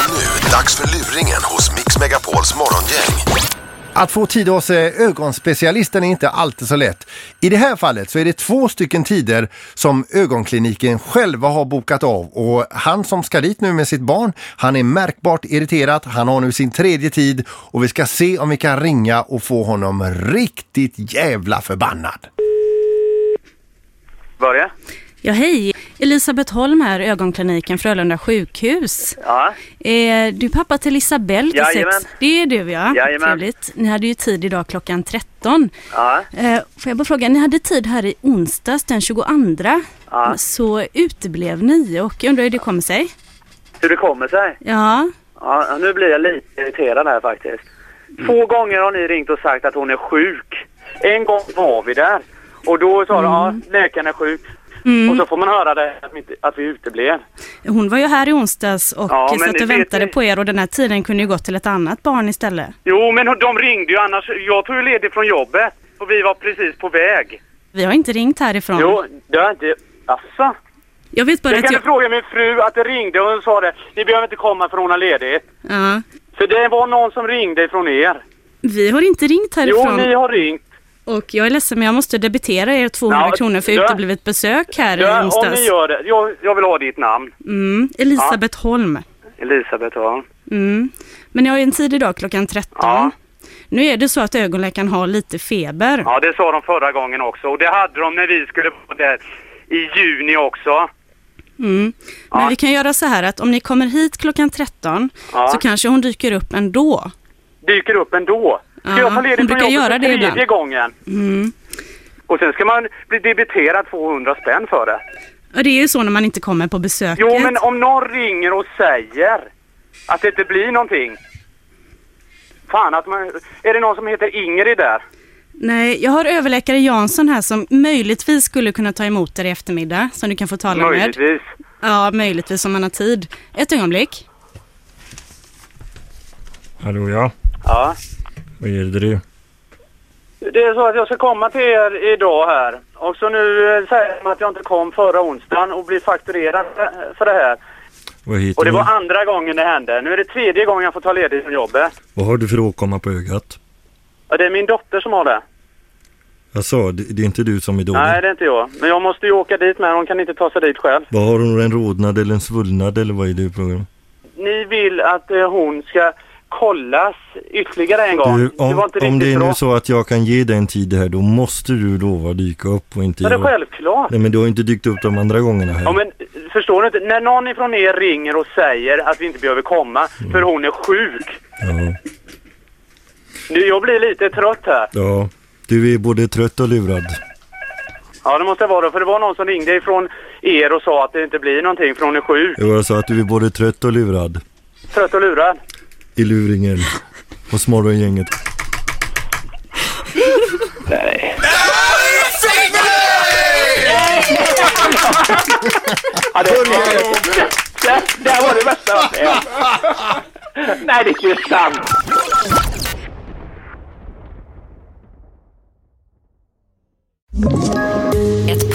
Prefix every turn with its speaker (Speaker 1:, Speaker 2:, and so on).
Speaker 1: Dags för luringen hos Mix Megapols morgongäng.
Speaker 2: Att få tid hos eh, ögonspecialisten är inte alltid så lätt. I det här fallet så är det två stycken tider som ögonkliniken själva har bokat av och han som ska dit nu med sitt barn, han är märkbart irriterad. Han har nu sin tredje tid och vi ska se om vi kan ringa och få honom riktigt jävla förbannad.
Speaker 3: Börje?
Speaker 4: Ja, hej! Elisabeth Holm här, ögonkliniken Frölunda sjukhus.
Speaker 3: Ja.
Speaker 4: Eh, du är pappa till Isabelle till
Speaker 3: Jajamän.
Speaker 4: sex. Det är du ja.
Speaker 3: Jajamän.
Speaker 4: Trevligt. Ni hade ju tid idag klockan 13.
Speaker 3: Ja.
Speaker 4: Eh, får jag bara fråga, ni hade tid här i onsdags den 22. Så uteblev ni och jag undrar hur det kommer sig?
Speaker 3: Hur det kommer sig?
Speaker 4: Ja,
Speaker 3: Ja, nu blir jag lite irriterad här faktiskt. Två gånger har ni ringt och sagt att hon är sjuk. En gång var vi där och då sa de ja, läkaren är sjuk. Och så får man höra det att vi, inte- att vi uteblev.
Speaker 4: hon var ju här i onsdags och
Speaker 3: Ja, men
Speaker 4: satt
Speaker 3: ni
Speaker 4: och
Speaker 3: vet
Speaker 4: väntade
Speaker 3: ni-
Speaker 4: på er och den här tiden kunde ju gått till ett annat barn istället.
Speaker 3: Jo, men de ringde ju annars. Jag tog ju ledigt från jobbet och vi var precis på väg.
Speaker 4: Vi har inte ringt härifrån.
Speaker 3: Jo, det har inte... Asså?
Speaker 4: Jag vet bara
Speaker 3: Jag
Speaker 4: att
Speaker 3: kan
Speaker 4: jag...
Speaker 3: fråga min fru att det ringde och hon sa det. Ni behöver inte komma för hon har ledigt.
Speaker 4: Ja.
Speaker 3: För det var någon som ringde från er.
Speaker 4: Vi har inte ringt
Speaker 3: Jo,
Speaker 4: härifrån.
Speaker 3: ni har ringt.
Speaker 4: Och jag är ledsen men jag måste debitera er 200
Speaker 3: Ja,
Speaker 4: kronor för
Speaker 3: ja.
Speaker 4: uteblivet besök här i
Speaker 3: Ja, om
Speaker 4: onsdags.
Speaker 3: ni gör det. Jag, jag vill ha ditt namn.
Speaker 4: Mm, Elisabeth Holm.
Speaker 3: Elisabeth Holm.
Speaker 4: Mm. Men jag har ju en tid idag klockan 13.
Speaker 3: Ja.
Speaker 4: Nu är det så att ögonläkaren har lite feber.
Speaker 3: Ja, det sa de förra gången också. Och det hade de när vi skulle vara där i juni också.
Speaker 4: Mm. Men
Speaker 3: Ja.
Speaker 4: vi kan göra så här att om ni kommer hit klockan 13
Speaker 3: Ja.
Speaker 4: så kanske hon dyker upp ändå.
Speaker 3: Dyker upp ändå. Ska
Speaker 4: Ja,
Speaker 3: jag ta
Speaker 4: hon
Speaker 3: ledigt från
Speaker 4: brukar
Speaker 3: jobbet
Speaker 4: göra
Speaker 3: för
Speaker 4: det
Speaker 3: tredje
Speaker 4: ibland.
Speaker 3: gången?
Speaker 4: Mm.
Speaker 3: Och sen ska man bli debiterad 200 spänn för det.
Speaker 4: Och det är ju så när man inte kommer på besöket.
Speaker 3: Jo, men om någon ringer och säger att det inte blir någonting. Fan att man... Är det någon som heter Ingrid där?
Speaker 4: Nej, jag har överläkare Jansson här som möjligtvis skulle kunna ta emot er i eftermiddag som du kan få tala med.
Speaker 3: Möjligtvis.
Speaker 4: Ja, möjligtvis om man har tid. Ett ögonblick.
Speaker 5: Hallå ja,
Speaker 3: Ja.
Speaker 5: vad gäller det?
Speaker 3: Det är så att jag ska komma till er idag här. Och så nu eh, säger de att jag inte kom förra onsdagen och blir fakturerad eh, för det här.
Speaker 5: Vad heter
Speaker 3: Och det
Speaker 5: du?
Speaker 3: var andra gången det hände. Nu är det tredje gången jag får ta ledigt från jobbet.
Speaker 5: Vad har du för åkomma på ögat?
Speaker 3: Ja, det är min dotter som har det.
Speaker 5: Jag sa, det, det är inte du som är dålig.
Speaker 3: Nej, det är inte jag. Men jag måste ju åka dit med. Hon kan inte ta sig dit själv.
Speaker 5: Vad har hon, en rodnad eller en svullnad eller vad är det för problem?
Speaker 3: Ni vill att eh, hon ska kollas ytterligare en gång.
Speaker 5: Du,
Speaker 3: det var
Speaker 5: om,
Speaker 3: inte
Speaker 5: om
Speaker 3: riktigt
Speaker 5: det är
Speaker 3: bra.
Speaker 5: nu så att jag kan ge dig en tid här, då måste du lova att dyka upp och inte...
Speaker 3: Men det är
Speaker 5: göra-
Speaker 3: självklart.
Speaker 5: Nej men du har ju inte dykt upp de andra gångerna här.
Speaker 3: Ja, men eh, förstår du inte? När någon ifrån er ringer och säger att vi inte behöver komma
Speaker 5: Mm.
Speaker 3: för hon är sjuk.
Speaker 5: Ja,
Speaker 3: Nu, jag blir lite trött här.
Speaker 5: ja. Du är både trött och lurad.
Speaker 3: Ja, det måste jag vara. För det var någon som ringde ifrån er och sa att det inte blir någonting för hon är sjuk.
Speaker 5: Jo, Jag sa att du är både trött och lurad.
Speaker 3: Trött och lurad.
Speaker 5: I luringen. Hos morgongänget.
Speaker 3: Ja, det, det, det var det värsta jag varit med om. Nej, det är inte sant.
Speaker 6: Ett